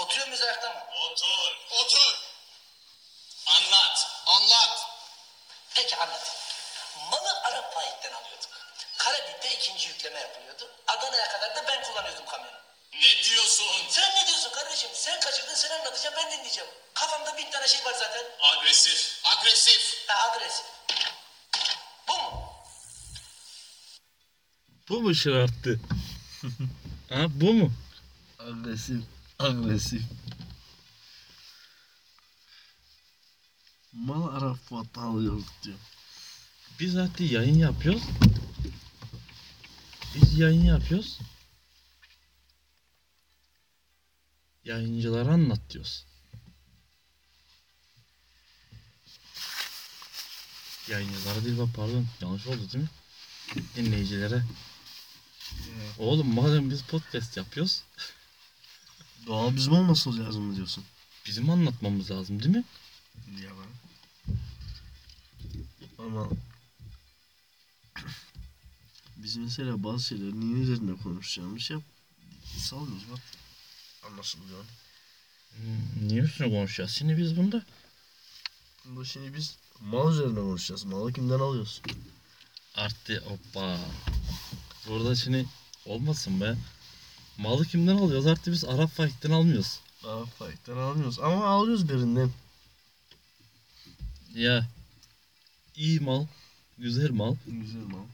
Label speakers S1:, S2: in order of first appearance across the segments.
S1: Oturuyor muyuz ayakta mı?
S2: Otur.
S3: Otur.
S2: Anlat.
S3: Anlat.
S1: Peki anlat. Malı Arap Faik'ten alıyorduk. Karabük'te ikinci yükleme yapılıyordu. Adana'ya kadar da ben kullanıyordum kamyonu.
S2: Ne diyorsun?
S1: Sen ne diyorsun kardeşim? Sen kaçırdın, sen anlatacaksın, ben dinleyeceğim. Kafamda bin tane şey var zaten.
S2: Agresif.
S3: Agresif.
S1: Ha, adres. Bu mu?
S4: Bu mu şımarttı? ha bu mu?
S5: Agresif. Agresif. Mal Arafat'ta alıyoruz diyor.
S4: Biz zaten yayın yapıyoruz. Biz yayın yapıyoruz. Yayıncılara anlat diyoruz. Yayıncılara değil bak pardon yanlış oldu değil mi? Dinleyicilere. Oğlum madem biz podcast yapıyoruz
S5: Doğal bizim olması lazım mı diyorsun?
S4: bizim anlatmamız lazım değil mi?
S5: Yalan. Ama biz mesela bazı şeyleri niye üzerine konuşacağımız şey yap. Salmıyoruz bak. Anlaşılıyor.
S4: Hmm, Niye üstüne konuşacağız şimdi biz bunda?
S5: Bu şimdi biz mal üzerine konuşacağız. Malı kimden alıyoruz?
S4: Arttı hoppa. Burada şimdi olmasın be. Malı kimden alıyoruz? Artık biz Arap Faik'ten almıyoruz.
S5: Daha fight'ten almıyoruz ama alıyoruz birinden.
S4: Ya iyi mal, güzel mal.
S5: Güzel mal.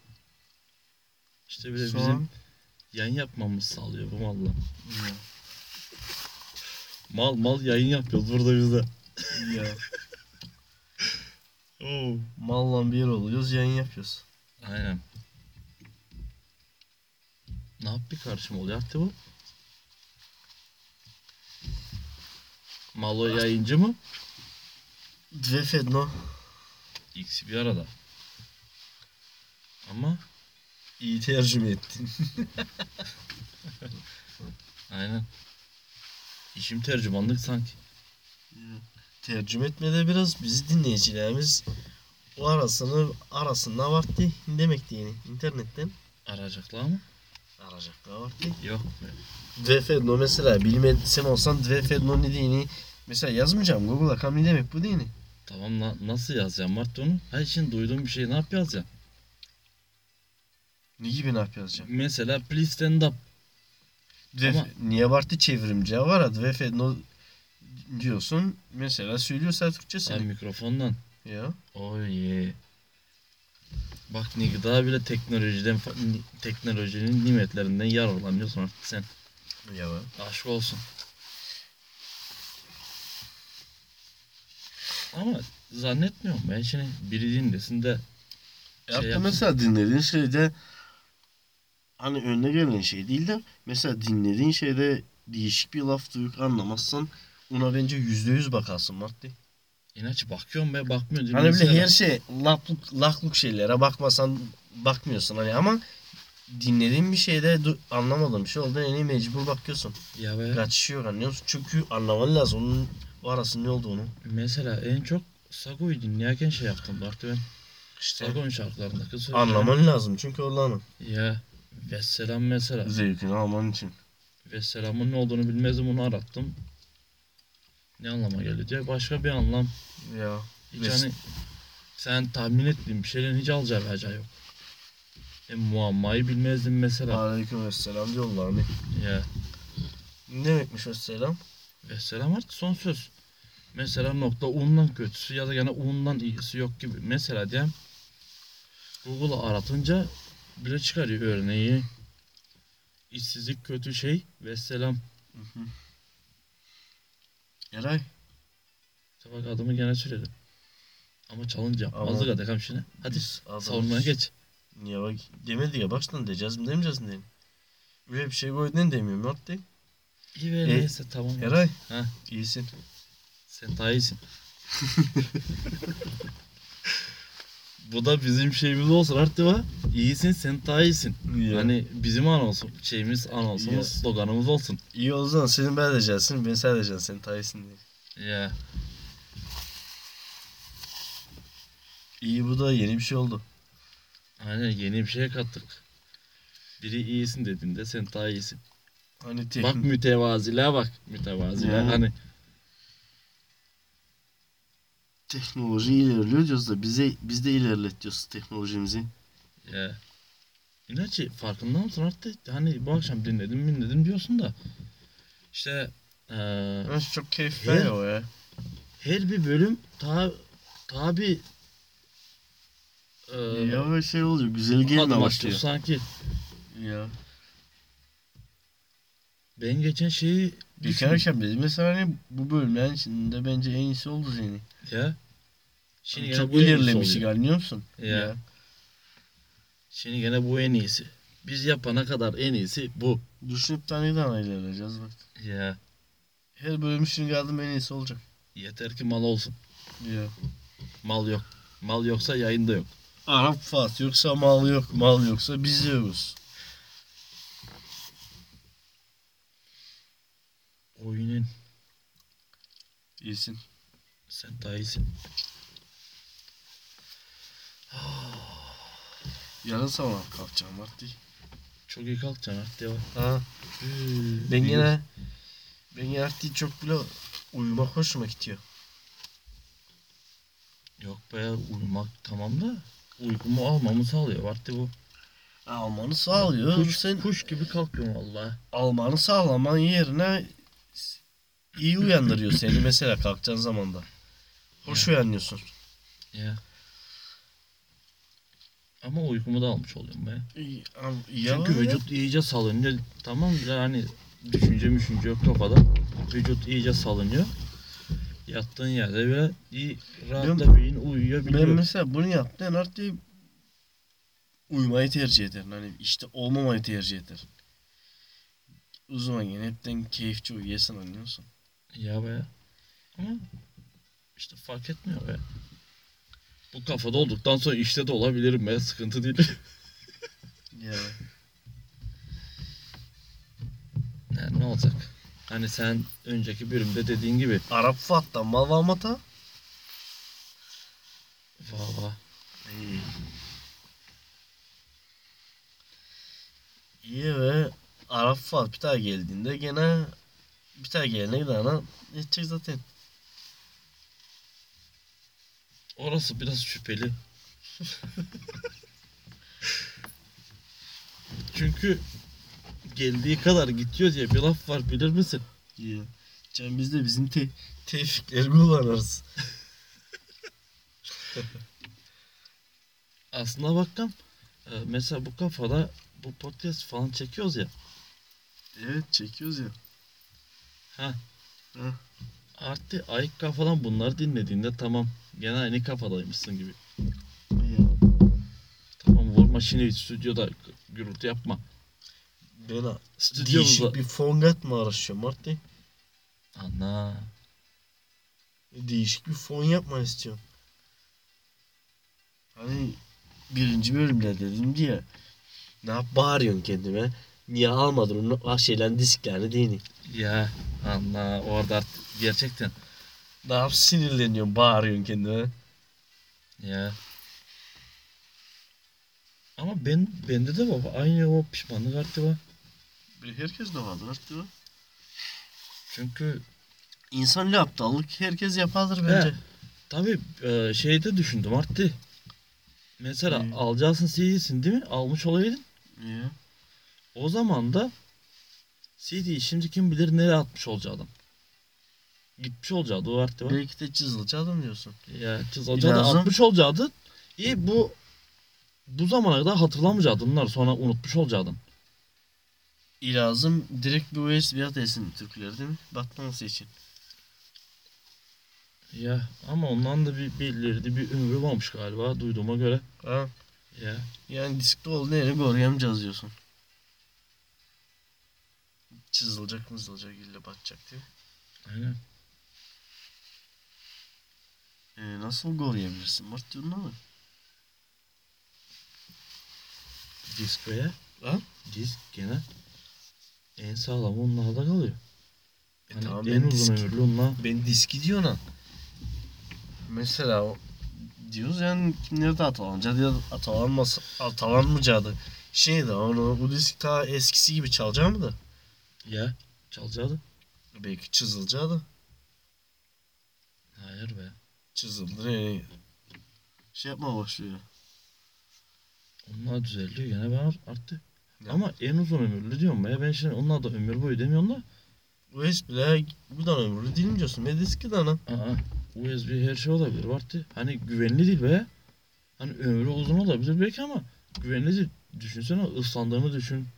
S4: İşte bir de
S5: Soğan.
S4: bizim yayın yapmamız sağlıyor bu malla.
S5: Ya.
S4: Mal mal yayın yapıyoruz burada biz de.
S5: ya.
S4: Oo.
S5: Malla bir oluyoruz yayın yapıyoruz.
S4: Aynen. Ne yap bir karışım oluyor artık bu? Malo yayıncı mı?
S5: Dve fedno.
S4: İkisi bir arada. Ama
S5: İyi tercüme ettin.
S4: Aynen. İşim tercümanlık sanki.
S5: tercüme etmede biraz bizi dinleyicilerimiz o arasını arasında vardı demek yani internetten
S4: Arayacaklar mı?
S5: aracaklar vardı.
S4: Yok.
S5: Dve fedno mesela bilmesem olsan dve fedno ne diyeni mesela yazmayacağım Google'a kam ne demek bu diyeni.
S4: Tamam na- nasıl yazacağım Mart onu? Her şimdi duyduğum bir şey ne yap yazacağım?
S5: Ne gibi ne yap yazacağım?
S4: Mesela please stand up.
S5: Dve,
S4: Ama-
S5: Niye vardı çevrimci var ya dve fedno diyorsun mesela söylüyorsa
S4: Sen
S5: Türkçesini.
S4: mikrofondan.
S5: Ya.
S4: Oy. Bak ne daha bile teknolojiden fa- ni- teknolojinin nimetlerinden yararlanıyorsun artık sen.
S5: Ya bak.
S4: Aşk olsun. Ama zannetmiyorum ben şimdi biri dinlesin de
S5: Ya
S4: Şey
S5: da mesela dinlediğin şeyde hani önüne gelen şey değil de mesela dinlediğin şeyde değişik bir laf duyup anlamazsan ona bence yüzde yüz bakarsın Marti.
S4: inanç bakıyorum be bakmıyor.
S5: Hani
S4: dinlesene.
S5: bile her şey lakluk, lakluk şeylere bakmasan bakmıyorsun hani ama dinlediğin bir şeyde du- anlamadığın bir şey oldu en iyi mecbur bakıyorsun.
S4: Ya be.
S5: Kaçışıyor anlıyor musun? Çünkü anlaman lazım onun o arasının ne olduğunu.
S4: Mesela en çok Sago'yu dinlerken şey yaptım Bartu ben.
S5: İşte
S4: Sago'nun şarkılarındaki sözleri.
S5: anlaman lazım çünkü oradan
S4: Ya. Vesselam mesela.
S5: zevkini alman için.
S4: Vesselam'ın ne olduğunu bilmezdim onu arattım. Ne anlama geliyor diye. Başka bir anlam.
S5: Ya.
S4: Hiç
S5: Ves-
S4: hani sen tahmin ettiğin bir şeyden hiç alacağı vereceği yok. E, muammayı bilmezdim mesela.
S5: Aleykümselam diyorlar mı?
S4: Ya.
S5: Ne demekmiş o selam?
S4: Vesselam artık son söz. Mesela nokta undan kötüsü ya da gene undan iyisi yok gibi. Mesela diyelim Google'a aratınca bile çıkarıyor örneği. İşsizlik kötü şey. Vesselam.
S5: Eray.
S4: Tabak adımı gene söyledim. Ama challenge yapmazdık
S5: Ama-
S4: hadi kam şimdi. Hadi
S5: Biz adamız.
S4: savunmaya geç.
S5: Ya bak demedi ya baştan diyeceğiz mi demeyeceğiz mi dedim. Öyle bir şey koydun demiyorum yok değil.
S4: İyi ve
S5: E,
S4: neyse tamam.
S5: Eray.
S4: Ha.
S5: İyisin.
S4: Sen daha iyisin. Bu da bizim şeyimiz olsun artık ha. İyisin sen daha iyisin.
S5: Ya.
S4: Hani bizim an olsun, şeyimiz an olsun,
S5: Ya.
S4: sloganımız olsun.
S5: İyi o zaman senin ben diyeceksin, ben sen diyeceksin, sen tayisin diye.
S4: Ya
S5: İyi bu da yeni bir şey oldu.
S4: aynen yeni bir şeye kattık. Biri iyisin dediğinde sen daha iyisin.
S5: Hani
S4: Bak
S5: teknik
S4: mütevaziliğe bak. Mütevaziliğe.
S5: Yani.
S4: Hani
S5: teknoloji ilerliyor diyoruz da bize biz de ilerletiyoruz teknolojimizi.
S4: ya. İnaçı Ee, e, farkında mısın artık? Hani bu akşam dinledim dinledim diyorsun da. İşte eee
S5: çok keyifli
S4: Her-
S5: o ya.
S4: her bir bölüm ta tabi eee
S5: Ya böyle şey oluyor. Güzel gelme
S4: adım atıyor
S5: başlıyor.
S4: sanki.
S5: Ya.
S4: Ben geçen şeyi
S5: Geçen
S4: düşündüm.
S5: akşam dedim mesela hani bu bölümlerin içinde bence en iyisi oldu Zeni.
S4: Ya. Şimdi gene
S5: çok
S4: bu en iyisi
S5: ilerlemişik
S4: oluyor.
S5: anlıyor musun?
S4: Ya. Şimdi gene bu en iyisi. Biz yapana kadar en iyisi bu.
S5: Düşünüp tane daha ilerleyeceğiz bak.
S4: Ya.
S5: Her bölüm için geldim en iyisi olacak.
S4: Yeter ki mal olsun.
S5: Ya.
S4: Mal yok. Mal yoksa yayında yok.
S5: Arap Fat yoksa mal yok, mal yoksa biz yiyoruz.
S4: Oyunun
S5: İyisin.
S4: sen daha iyisin.
S5: Yarın sabah kalkacağım vakti.
S4: Çok iyi kalkacaksın artık devam.
S5: Ha.
S4: Hmm,
S5: Ben yine ben yine artık çok bile uyumak hoşuma gidiyor.
S4: Yok be uyumak tamam da uykumu almamı sağlıyor. Artık bu.
S5: Almanı sağlıyor.
S4: Kuş,
S5: Sen
S4: kuş gibi kalkıyorum valla.
S5: Almanı sağlaman yerine iyi uyandırıyor seni mesela kalkacağın zamanda. Hoş uyanıyorsun.
S4: Ya. Ama uykumu da almış oluyorum be.
S5: İyi,
S4: Çünkü vücut iyice salınıyor. Tamam yani düşünce müşünce yok kafada. Vücut iyice salınıyor. Yattığın yerde bile iyi rahatla
S5: Ben-
S4: beyin
S5: Ben
S4: uyuyabiliyor.
S5: mesela bunu yaptığın artık uyumayı tercih ederim. Hani işte olmamayı tercih ederim. O zaman yine hepten keyifçi uyuyasın anlıyorsun.
S4: Ya be. Ama işte fark etmiyor be. Bu kafada olduktan sonra işte de olabilirim be. Sıkıntı değil.
S5: Ya.
S4: yani ne olacak? Hani sen önceki bölümde dediğin gibi
S5: Arap Fat'tan Malvamata.
S4: valla
S5: İyi ve Arap Fat bir daha geldiğinde gene bir daha gelene gidene edecek zaten.
S4: orası biraz şüpheli. Çünkü geldiği kadar gidiyor diye bir laf var bilir misin?
S5: Ya. Can biz de bizim te tevfikleri kullanırız.
S4: Aslına bakkam e, mesela bu kafada bu podcast falan çekiyoruz ya.
S5: Evet çekiyoruz ya.
S4: Ha.
S5: Hı.
S4: Artı ayık kafadan bunları dinlediğinde tamam gene aynı kafadaymışsın gibi.
S5: ya.
S4: Tamam vurma şimdi stüdyoda gürültü yapma.
S5: Ben
S4: Stüdyomuzda.
S5: değişik bir fongat mı araşıyorum artık?
S4: Ana.
S5: Değişik bir fon yapmanı istiyorum. Hani birinci bölümde dedim diye ne yap bağırıyorsun kendime? Niye almadın onu ah şeylerin disklerini değil mi?
S4: Ya ana orada artık gerçekten
S5: Ne yap sinirleniyorsun bağırıyorsun kendime?
S4: ya. Ama ben bende de baba aynı o pişmanlık artı var.
S5: Herkes de vardır artık o.
S4: Çünkü
S5: İnsanlı aptallık herkes yapardır bence.
S4: He. Tabii e, şeyde düşündüm arttı. Mesela
S5: Hmm.
S4: alacaksın CD'sin değil mi? Almış olaydın.
S5: Ya.
S4: O zaman da CD'yi şimdi kim bilir nereye atmış olacağı adam. Gitmiş olacağı o arttı var.
S5: Belki de çizilecek adam diyorsun.
S4: Ya kız olacağı da
S5: Lazım.
S4: atmış olacağı adı. İyi bu bu zamana kadar hatırlamayacağı adımlar sonra unutmuş olacağı adam.
S5: İlazım direkt bir USB adresini Türkler değil mi? Batması için.
S4: Ya ama ondan da bir belirli bir ömrü varmış galiba duyduğuma göre.
S5: Ha.
S4: Ya
S5: Yani diskte olduğunu yere koruyamayacağız diyorsun. Çizilecek mızılacak ille batacak değil mi?
S4: aynen.
S5: Ee, nasıl koruyabilirsin? Mart diyorsun ama.
S4: Disk veya
S5: Ha?
S4: disk gene en sağlam onlarda kalıyor.
S5: E
S4: Hani
S5: tamam
S4: en
S5: ben
S4: uzun
S5: disk,
S4: ömürlü onunla.
S5: ben diski diyorsun lan. Mesela o diyoruz yani nerede atalanca diye şey atalanmasa atalanmayacağı da şeydi onu bu disk daha eskisi gibi çalacak mı da?
S4: Ya çalacağı da.
S5: Belki çizileceği da.
S4: Hayır be.
S5: Çizildi. Yani. Şey yapma başlıyor.
S4: Onlar düzeldi gene ben art- arttı.
S5: Ya.
S4: Ama en uzun ömürlü diyorum ya ben şimdi onlar da ömür boyu demiyorum da.
S5: Bu espri bu da ömrü değil mi diyorsun? Medeski de ana.
S4: Aa, USB her şey olabilir vardı. Hani güvenli değil be. Hani ömrü uzun olabilir belki ama güvenli değil. Düşünsene ıslandığını düşün.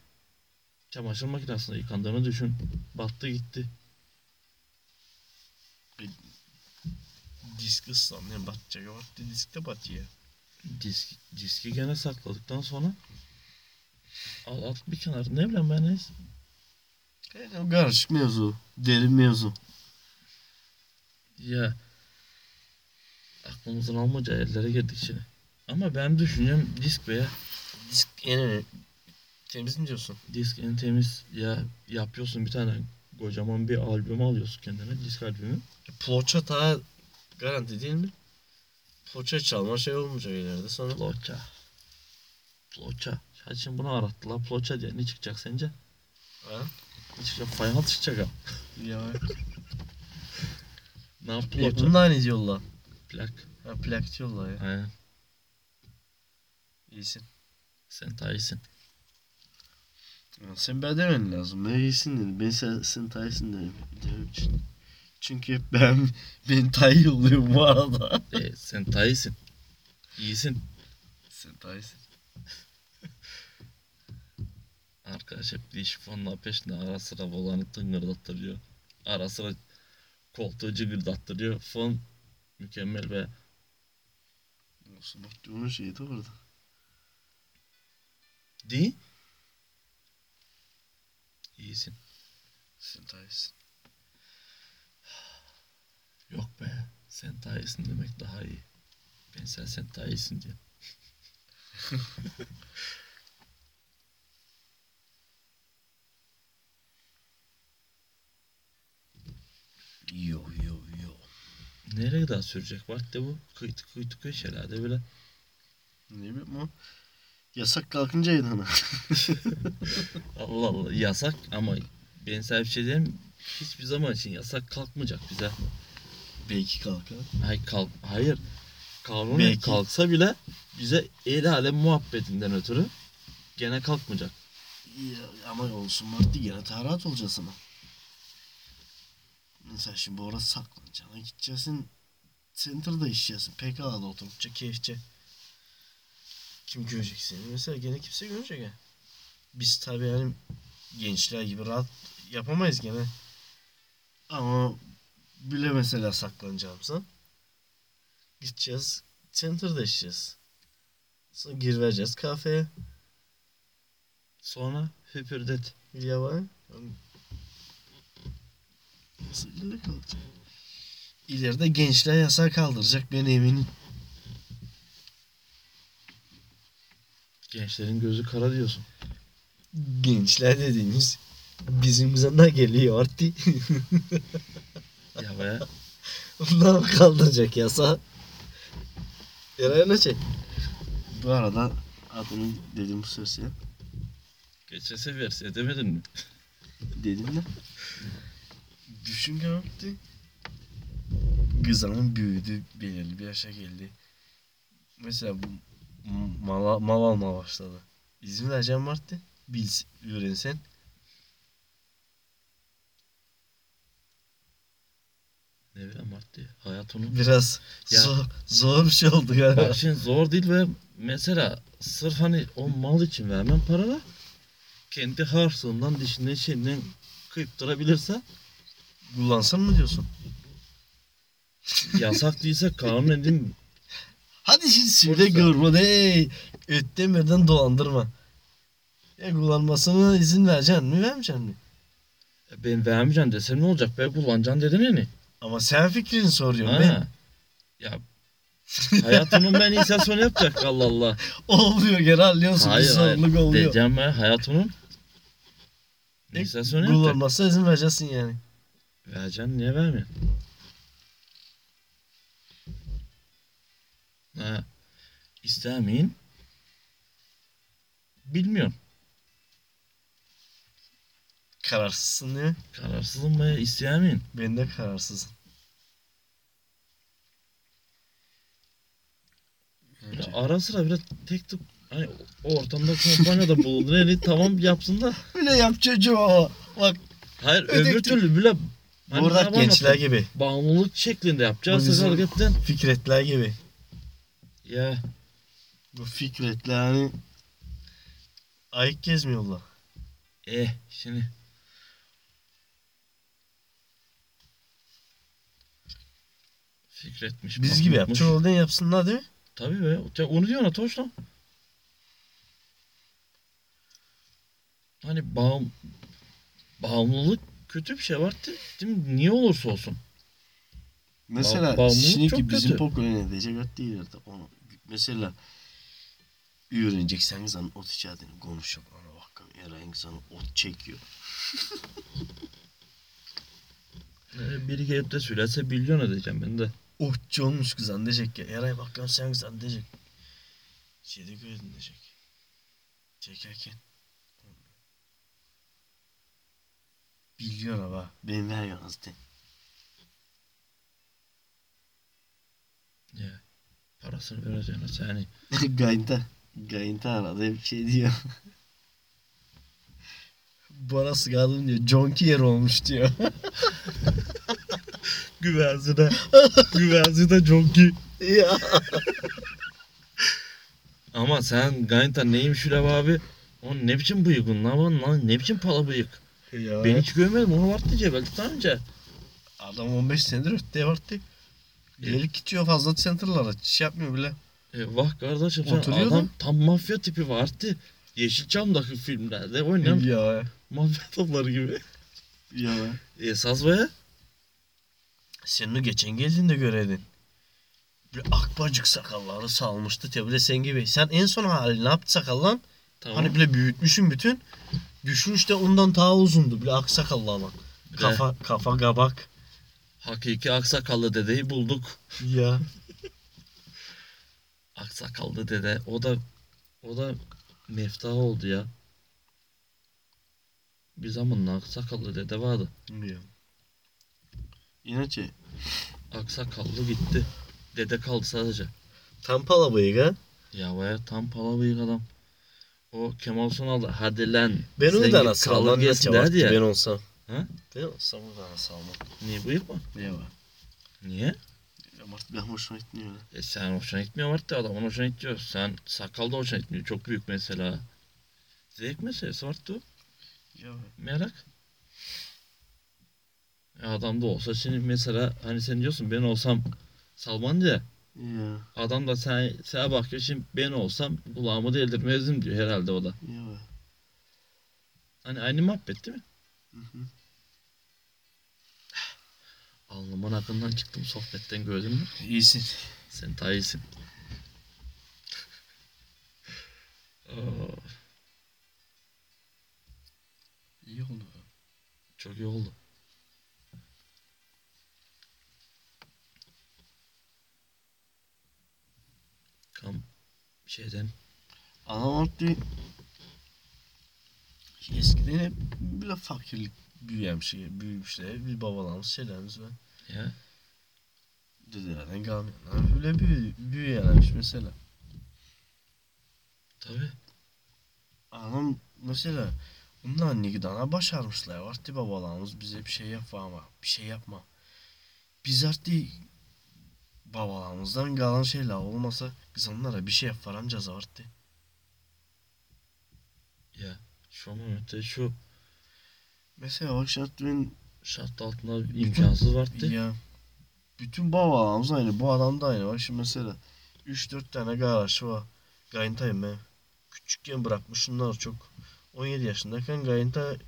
S4: Çamaşır makinesinde yıkandığını düşün. Battı gitti.
S5: Disk ıslanıyor batacak. Yok diskte batıyor.
S4: Disk, diski gene sakladıktan sonra al at bir kenara. Ne bileyim ben neyse.
S5: Yani karışık mevzu. Derin mevzu.
S4: Ya aklımızın almayacağı yerlere girdik şimdi. Ama ben düşüncem disk veya
S5: Disk en önemli. Temiz mi diyorsun?
S4: disk en temiz ya yapıyorsun bir tane kocaman bir albüm alıyorsun kendine disk albümü.
S5: Ploça E, daha garanti değil mi? Ploça çalma şey olmayacak ileride sonra.
S4: Ploça. Ploça. Hadi şimdi bunu arattılar. Ploça diye ne çıkacak sence?
S5: Ha?
S4: Ne çıkacak? Final çıkacak ha.
S5: Ya.
S4: Ne yap
S5: Bunu
S4: ploça?
S5: da aynı diyorlar.
S4: Plak.
S5: Ha plak diyorlar ya.
S4: Aynen.
S5: İyisin.
S4: Sen daha iyisin.
S5: Sen ben demen lazım. Ben iyisin dedim. Ben sen, sen Tyson dedim. Demem için. Çünkü hep ben, ben Tay oluyor bu arada.
S4: E, sen daha iyisin. İyisin.
S5: sen Tyson.
S4: Arkadaş hep iş fonla peşinde ara sıra volanı tıngırdattırıyor. Ara sıra koltuğu cıgırdattırıyor. Fon mükemmel be.
S5: Olsun bak onun şeyi de orada.
S4: Di? İyisin.
S5: Sen Tyson.
S4: Yok be. Sen daha iyisin demek daha iyi. Ben sen sen daha iyisin diye.
S5: Yo yo yo.
S4: Nereye daha sürecek vakti bu? Kıytı kıytı köşelerde böyle.
S5: Ne bileyim o. Yasak kalkınca yedin
S4: Allah Allah yasak ama ben sana bir şey diyeyim. Hiçbir zaman için yasak kalkmayacak bize.
S5: Belki kalkar.
S4: Hayır kalk hayır. Kanun
S5: Belki.
S4: kalksa bile bize el alem muhabbetinden ötürü gene kalkmayacak.
S5: Ya, ama olsun vakti gene taharat olacağız ama. Mesela şimdi bu ara saklanacağına gideceksin. Center'da işleyeceksin. PK'da oturupça keyifçe. Kim görecek seni? Mesela gene kimse görecek ya. Biz tabii yani gençler gibi rahat yapamayız gene. Ama bile mesela saklanacağımıza gideceğiz. Center'da işleyeceğiz. Sonra gir vereceğiz kafeye.
S4: Sonra hüpürdet.
S5: Ya var. Nasıl ileri kalacak? İleride gençler yasağı kaldıracak ben eminim.
S4: Gençlerin gözü kara diyorsun.
S5: Gençler dediğimiz bizim zana geliyor artık.
S4: Ya be
S5: Bunlar kaldıracak yasağı. Yaraya ne çek? Bu arada adını dedim bu sözü ya.
S4: geçen sefer size demedin mi?
S5: Dedim de. Düşün yaptı. Kızanın büyüdü belirli bir yaşa geldi. Mesela bu m- mal, mal alma başladı. İzin vereceğim vardı. Biz öğrensen.
S4: Ne bileyim Marti. Hayat onu.
S5: Biraz
S4: Ya-
S5: zor, zor bir şey oldu galiba.
S4: Bak şimdi zor değil ve mesela sırf hani o mal için vermem parada kendi harçlığından dişinden şeyinden kıyıptırabilirse
S5: Kullansın mı diyorsun?
S4: yasak değilse kanun edin
S5: Hadi şimdi
S4: Orası.
S5: söyle görme de öt demeden dolandırma. Ya kullanmasına izin vereceksin mi vermeyeceksin mi?
S4: ben vermeyeceğim desem ne olacak ben kullanacağım dedin ya ne?
S5: Ama sen fikrini soruyorsun.
S4: Ha.
S5: Ben
S4: Ya hayatımın ben insansını yapacak Allah Allah.
S5: olmuyor gene anlıyorsun. bir
S4: Hayır hayır.
S5: zorluk oluyor.
S4: Diyeceğim ben hayatımın
S5: E,
S4: insansını yapacak.
S5: Kullanmazsa izin vereceksin yani.
S4: Vereceksin niye vermiyorsun? Ha. İstemeyin. Bilmiyorum.
S5: Kararsızsın değil mi?
S4: Kararsızım be isteyen miyim?
S5: Ben de kararsızım.
S4: Ya ara sıra biraz tek tip hani o ortamda kompanyada bulundun eli tamam yapsın da
S5: Öyle yap çocuğu. Bak
S4: hayır
S5: Ötek
S4: öbür
S5: tip.
S4: türlü bile hani
S5: burada
S4: bana
S5: gençler
S4: bakın,
S5: gibi.
S4: bağımlılık şeklinde yapacağız
S5: Bu bizim-
S4: hareketten
S5: Fikretler gibi.
S4: ya
S5: Bu Fikretler hani ayık gezmiyorlar.
S4: eh şimdi Fikretmiş.
S5: Biz gibi yap.
S4: Mahmutmuş.
S5: Çoğuldan yapsınlar değil mi?
S4: Tabii be. Ya onu diyor Natoş lan. Hani bağım, bağımlılık kötü bir şey var değil, değil mi? Niye olursa olsun. Ba-
S5: Mesela
S4: bağımlılık
S5: şimdiki
S4: çok
S5: bizim
S4: kötü.
S5: poker oynayacak ört değil artık onu. Mesela öğreneceksen sen ot içerdiğini konuşuyor. Ana bak herhangi sana ot çekiyor.
S4: Ee, biri gelip de söylerse milyon edeceğim ben de.
S5: Otçu olmuş Oh, kızan diyecek ya. Eray bak lan sen kızan diyecek. Şeyde gördün diyecek. Çekerken. Biliyor ama. Ben ver yalnız de.
S4: Ya, parasını hani vereceğine yani.
S5: Gaynta. Gaynta arada hep şey diyor. Bana sıkaldım diyor. Jonki yer olmuş diyor.
S4: Güvenzine. Güvenzine jonki.
S5: ya.
S4: Ama sen Ganyta neymiş Hülab abi? O ne biçim bıyıkın lan? lan ne biçim pala bıyık?
S5: ya.
S4: Ben hiç görmedim. Onu var diyecek belki daha önce.
S5: Adam 15 senedir ötteye varttı. Delik gidiyor fazla center'lara. Şey yapmıyor bile.
S4: E, vah kardeşim sen
S5: Oturuyor
S4: adam
S5: da.
S4: tam mafya tipi vardı. Yeşilçam'daki filmlerde oynayan
S5: Ya.
S4: mafya adamları gibi. E,
S5: Ya.
S4: Esas be.
S5: Sen onu geçen geldiğinde göreydin. Bir akbacık sakalları salmıştı Tebile sen gibi. Sen en son hali ne yaptı sakallan?
S4: Tamam.
S5: Hani bile büyütmüşün bütün. Düşmüş de ondan daha uzundu. Bile ak sakallı adam.
S4: Bir de
S5: Kafa, kafa kabak.
S4: Hakiki aksakallı dedeyi bulduk.
S5: Ya.
S4: Aksakallı dede. O da o da mefta oldu ya. Bir zamanla aksakallı dede vardı.
S5: ya. İnaçı.
S4: Aksakallı gitti. Dede kaldı sadece.
S5: Tam palabayık ha.
S4: Ya baya tam pala bıyık adam. O Kemal Sunal'da hadi lan.
S5: Ben onu
S4: zengin
S5: da nasıl
S4: kralın
S5: salmam.
S4: gelsin derdi ya.
S5: Ben olsam.
S4: Ha?
S5: Ben olsam onu da nasıl salmam.
S4: Niye bıyık mı?
S5: Ne var?
S4: Niye?
S5: Mart ben hoşuma gitmiyor.
S4: E sen hoşuna gitmiyor var da adamın hoşuna gidiyor. Sen sakal da hoşuna gitmiyor. Çok büyük mesela. Zevk meselesi var da o.
S5: Ya.
S4: Merak. E adam da olsa şimdi mesela hani sen diyorsun ben olsam Salman diye.
S5: Ya.
S4: Adam da sen, sana bakıyor şimdi ben olsam kulağımı deldirmezdim diyor herhalde o da.
S5: Ya.
S4: Hani aynı muhabbet değil mi?
S5: Hı hı.
S4: Alnımın akından çıktım sohbetten gördün mü?
S5: İyisin.
S4: Sen daha iyisin. Oo,
S5: İyi oldu.
S4: çok iyi oldu. Kam şeyden
S5: Adam artık eskiden hep böyle fakirlik büyüyen şey, büyümüşler. Bir babalarımız şeylerimiz var.
S4: ya
S5: Dedelerden kalmayanlar böyle büyü, büyüyenlermiş mesela.
S4: tabii.
S5: Anam mesela onlar anne gidana başarmışlar. Artık babalarımız bize bir şey yapma ama bir şey yapma. Biz artık babalarımızdan kalan şeyler olmasa biz onlara bir şey yaparamacağız artık.
S4: Şu Mehmet'te şu
S5: Mesela bak şart ben
S4: şart altında imkansız vardı.
S5: Ya bütün babalarımız aynı. Bu adam da aynı. Bak şimdi mesela 3-4 tane garajı var. Gayntayım ben. Küçükken bırakmış şunlar çok. 17 yaşındayken Gayntay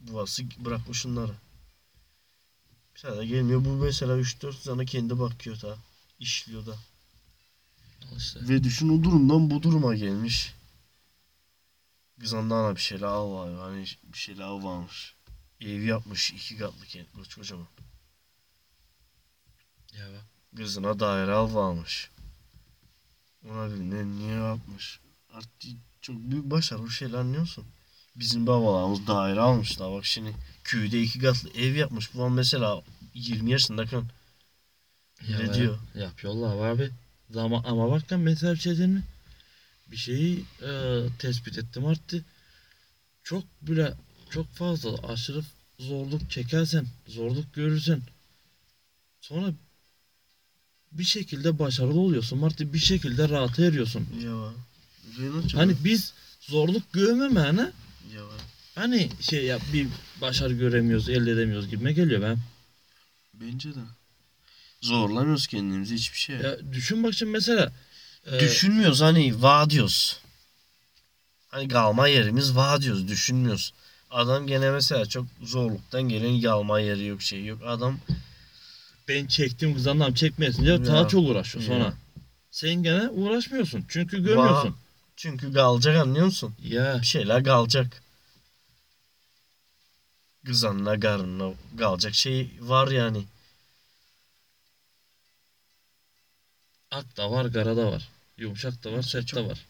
S5: babası bırakmış şunları. Bir tane de gelmiyor. Bu mesela 3-4 tane kendi bakıyor da. işliyor da.
S4: Al işte.
S5: Ve düşün o durumdan bu duruma gelmiş. Biz ondan da bir şeyler al var. Hani bir şeyler al varmış. Ev yapmış iki katlı kendi kocaman.
S4: Ya bak.
S5: Kızına daire av almış. Ona bilmem niye yapmış. Artık çok büyük başarılı şeyler anlıyorsun. Bizim babalarımız daire almışlar. Bak şimdi köyde iki katlı ev yapmış. Bu an mesela 20 yaşında kan. Ne
S4: ya-
S5: diyor?
S4: Yapıyorlar abi. Ama, ama bak lan mesela bir şey diyeyim mi? Bir şeyi e, tespit ettim artık. Çok bile çok fazla aşırı zorluk çekersen, zorluk görürsen sonra bir şekilde başarılı oluyorsun. Artık bir şekilde rahata eriyorsun.
S5: Ya bak. Duyun açıyor.
S4: Hani biz zorluk görmemene
S5: Ya bak.
S4: hani şey ya bir başarı göremiyoruz, elde edemiyoruz gibime geliyor ben.
S5: Bence de. Zorlamıyoruz kendimizi hiçbir şey.
S4: Ya düşün bak şimdi mesela e,
S5: Düşünmüyoruz hani va diyoruz. Hani galma yerimiz va diyoruz. Düşünmüyoruz. Adam gene mesela çok zorluktan gelen galma yeri yok şey yok. Adam
S4: ben çektim kız anlam çekmesin diye
S5: Ya.
S4: daha çok uğraşıyor
S5: Ya.
S4: sonra. Sen gene uğraşmıyorsun çünkü görmüyorsun.
S5: va- çünkü galacak anlıyor musun?
S4: Ya
S5: Bir şeyler galacak. Kızanla garınla galacak şey var yani.
S4: ak da var, gara da var. Yumuşak da var, sert de var.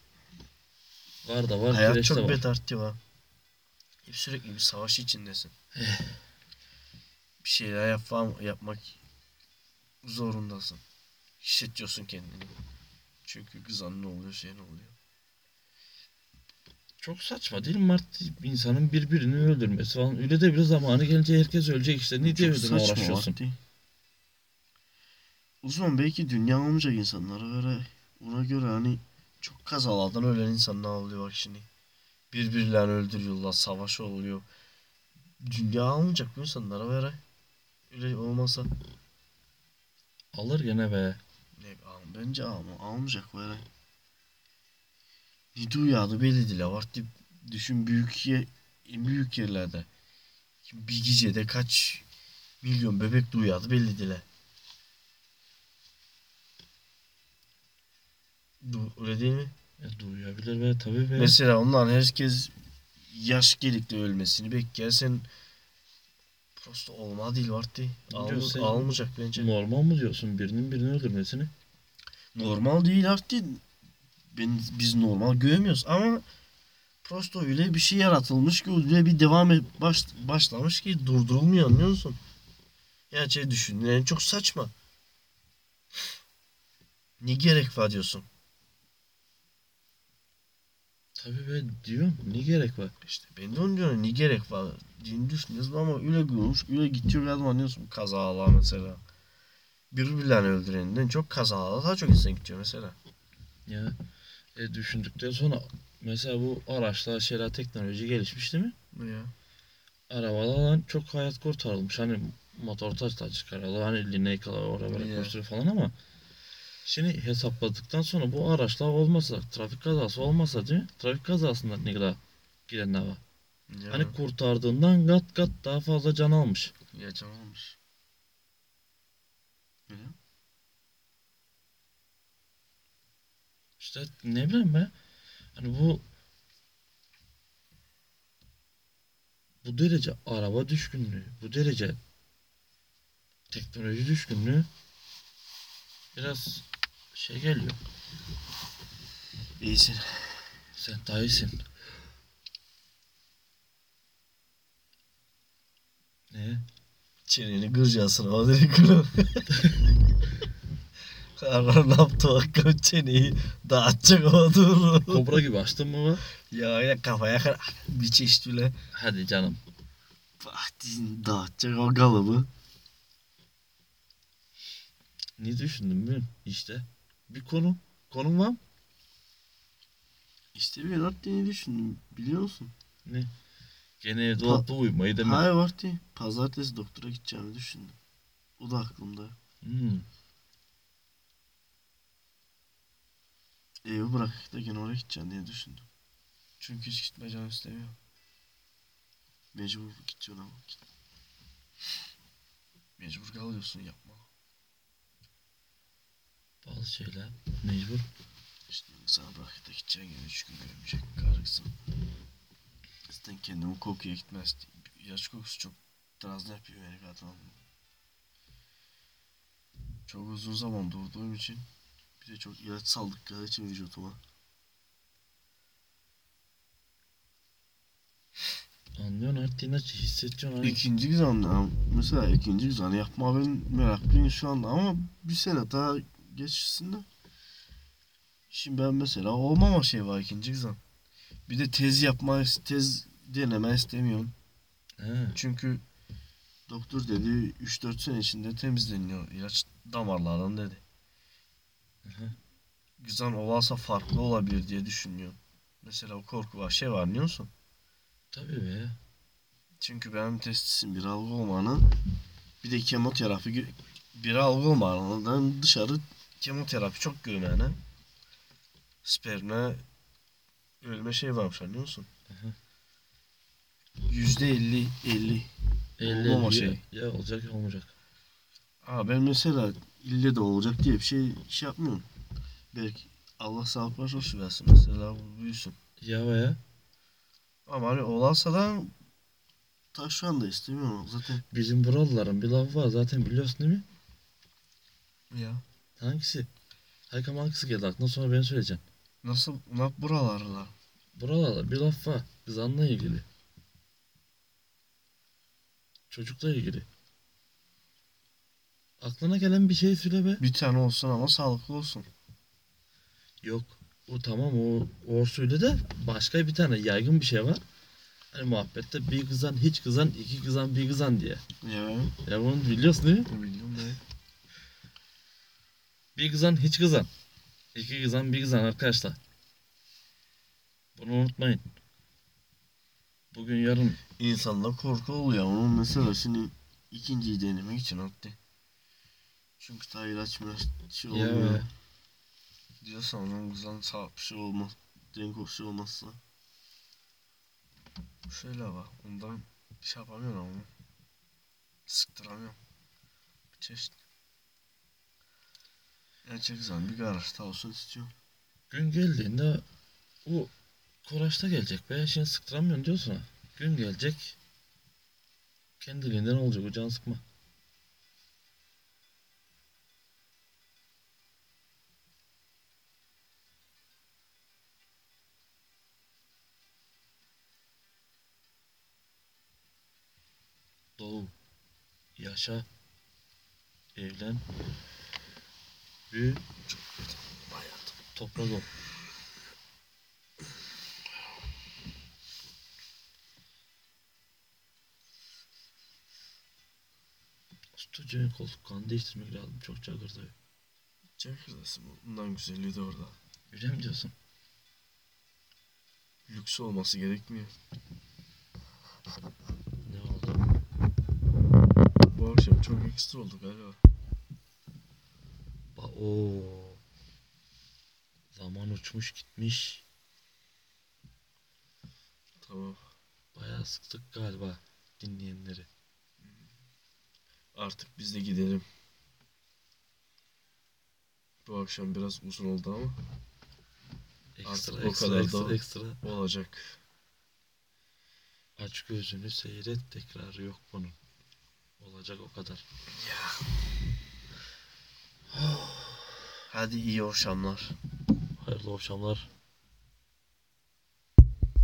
S4: Var da var,
S5: Hayat
S4: kireç de
S5: çok
S4: var.
S5: bedart ya. Hep sürekli bir savaş içindesin. bir şeyler yapma, yapmak zorundasın. Hissediyorsun kendini. Çünkü kızan ne oluyor şey ne oluyor.
S4: Çok saçma değil mi Mart? İnsanın birbirini öldürmesi falan. Öyle de bir zamanı gelince herkes ölecek işte. Ne diye
S5: Çok
S4: öldürme
S5: saçma
S4: uğraşıyorsun?
S5: vakti. Uzman belki dünya olmayacak insanlara göre ona göre hani çok kazalardan ölen insanlar oluyor bak şimdi. Birbirlerini öldürüyorlar, savaş oluyor. Dünya almayacak bu insanlara göre. Öyle olmasa
S4: Alır gene be.
S5: ne al- bence alma, almayacak böyle. Ne duyardı belli değil. Abartı düşün büyük ye, büyük yerlerde. Bir gecede kaç milyon bebek duyardı belli değil. Du, öyle değil mi?
S4: E, duyabilir be tabii be.
S5: Mesela ondan herkes yaş gelikte ölmesini beklersen prosto olma değil vardı. Almış,
S4: Diyorsun.
S5: almayacak bence.
S4: Normal mi diyorsun birinin birini öldürmesini?
S5: normal değil artık. Ben, biz normal görmüyoruz ama prosto öyle bir şey yaratılmış ki öyle bir devam et, baş, başlamış ki durdurulmuyor anlıyor musun? Yani şey düşün yani çok saçma. Ne gerek var diyorsun.
S4: Tabii be diyorum. Ne gerek var?
S5: İşte ben de onu diyorum ne gerek var. Dini düşünüyorsun ama öyle görmüş öyle gidiyor adam anlıyorsun kazalar mesela. Birbirlerini öldürenden çok kazalar daha çok insan gidiyor mesela.
S4: Ya e, düşündükten sonra mesela bu araçlar şeyler teknoloji gelişmiş değil mi?
S5: Ya.
S4: Arabalardan çok hayat kurtarılmış. Hani motor taş da çıkarıyorlar. Hani lineyi kadar oraya böyle
S5: Ya.
S4: koşturuyor falan ama şimdi hesapladıktan sonra bu araçlar olmasa, trafik kazası olmasa değil mi? Trafik kazasında ne kadar gidenler var.
S5: Ya.
S4: Hani kurtardığından kat kat daha fazla can almış.
S5: Ya can olmuş. Öyle mi?
S4: İşte ne bileyim ben. Hani bu bu derece araba düşkünlüğü, bu derece teknoloji düşkünlüğü biraz şey geliyor.
S5: İyisin.
S4: Sen daha iyisin. Ne?
S5: Çeneni kıracaksın ama direkt kırın. Karar ne yaptı bakalım çeneyi dağıtacak ama dur.
S4: Kobra gibi açtın mı? bu?
S5: ya ya kafaya kar bir çeşit bile.
S4: Hadi canım.
S5: Bahtiyar'ın dağıtacak o kalıbı.
S4: Ne düşündün bilmiyorum. İşte bir konu. Konum var mı?
S5: İşte bir Arttin'i düşündüm biliyor musun?
S4: Gene evde olup da uyumayı deme.
S5: Hayır Arttin. Pazartesi doktora gideceğimi düşündüm. O da aklımda.
S4: Hmm.
S5: Evi bırakıp da gene oraya gideceğim diye düşündüm. Çünkü hiç gitme canım istemiyor. Mecbur gideceksin ama git. Mecbur kalıyorsun yapma.
S4: Bazı şeyler mecbur.
S5: İşte sana bırakıp da gideceksin gene üç gün görmeyecek karıksın. Zaten kendimi kokuya gitmez. İlaç kokusu çok drazlı yapıyor beni kadın. Çok uzun zaman durduğum için bir de çok ilaç saldıkları için vücutuma.
S4: Anlıyorsun artık inatçı hissediyorsun. Hani.
S5: İkinci Gizan'da mesela ikinci Gizan'ı yapma ben meraklıyım şu anda ama bir sene daha geçsin de. Şimdi ben mesela olmama şey var ikinci Gizan. Bir de tez yapma, tez deneme istemiyorum.
S4: He.
S5: Çünkü doktor dedi 3-4 sene içinde temizleniyor ilaç damarlardan dedi.
S4: hı.
S5: Güzel olarsa farklı olabilir diye düşünüyorum. Mesela o korku var şey var anlıyor musun?
S4: Tabii be.
S5: Çünkü benim testisim bir algı olmanın bir de kemoterapi gö- bir algı olmanın dışarı kemoterapi çok görmeyene sperme ölme şey varmış anlıyor musun? Yüzde elli, elli.
S4: Elli
S5: Olmama
S4: elli
S5: şey.
S4: Ya olacak ya olmayacak.
S5: Aa ben mesela ille de olacak diye bir şey şey yapmıyorum. Belki Allah sağlık başarısı versin mesela bu büyüsün.
S4: Ya baya.
S5: Ama hani olansa da ta şu anda istemiyorum zaten.
S4: Bizim buralıların bir lafı var zaten biliyorsun değil mi?
S5: Ya.
S4: Hangisi? Haykam hangisi geldi aklına sonra ben söyleyeceğim.
S5: Nasıl ulan buralarla?
S4: Buralarda bir laf var. Zanla ilgili. Çocukla ilgili. Aklına gelen bir şey söyle be.
S5: Bir tane olsun ama sağlıklı olsun.
S4: Yok. O tamam o orsuyla de başka bir tane yaygın bir şey var. Hani muhabbette bir kızan hiç kızan iki kızan bir kızan diye.
S5: Ya.
S4: Ya bunu biliyorsun değil mi?
S5: Bilmiyorum da.
S4: Bir kızan hiç kızan. İki kızan bir kızan arkadaşlar. Bunu unutmayın. Bugün yarın
S5: İnsanda korku oluyor ama mesela şimdi ikinciyi denemek için attı. Çünkü ta ilaç milaç şey
S4: Ya.
S5: olmuyor. Diyorsan lan güzel sağlık bir şey olmaz. Denk o şey olmazsa. Şöyle bak ondan bir şey yapamıyorum ama. Sıktıramıyorum. Bir çeşit. Gerçek zaman bir garajda olsun istiyorum.
S4: gün geldiğinde o Koraş'ta gelecek be. Şimdi sıktıramıyorsun diyorsun ha. Gün gelecek. Kendiliğinden olacak o can sıkma. Doğu. Yaşa. Evlen. Büyü.
S5: Hayatım.
S4: Toprak ol. Stüdyoya koltuk kanı değiştirmek lazım. Çok çakırdı.
S5: Çok güzelsin. Bundan güzelliği de orada.
S4: Öyle mi diyorsun?
S5: Lüks olması gerekmiyor.
S4: Ne oldu?
S5: Bu akşam çok ekstra oldu galiba.
S4: Ba Oo. Zaman uçmuş gitmiş.
S5: Tamam.
S4: Bayağı sıktık galiba dinleyenleri.
S5: Artık biz de gidelim. Bu akşam biraz uzun oldu ama
S4: Ekstra
S5: Artık o
S4: ekstra
S5: kadar
S4: ekstra
S5: da-
S4: ekstra.
S5: olacak.
S4: Aç gözünü seyret tekrarı yok bunun. Olacak o kadar.
S5: Hadi iyi akşamlar.
S4: Hayırlı akşamlar.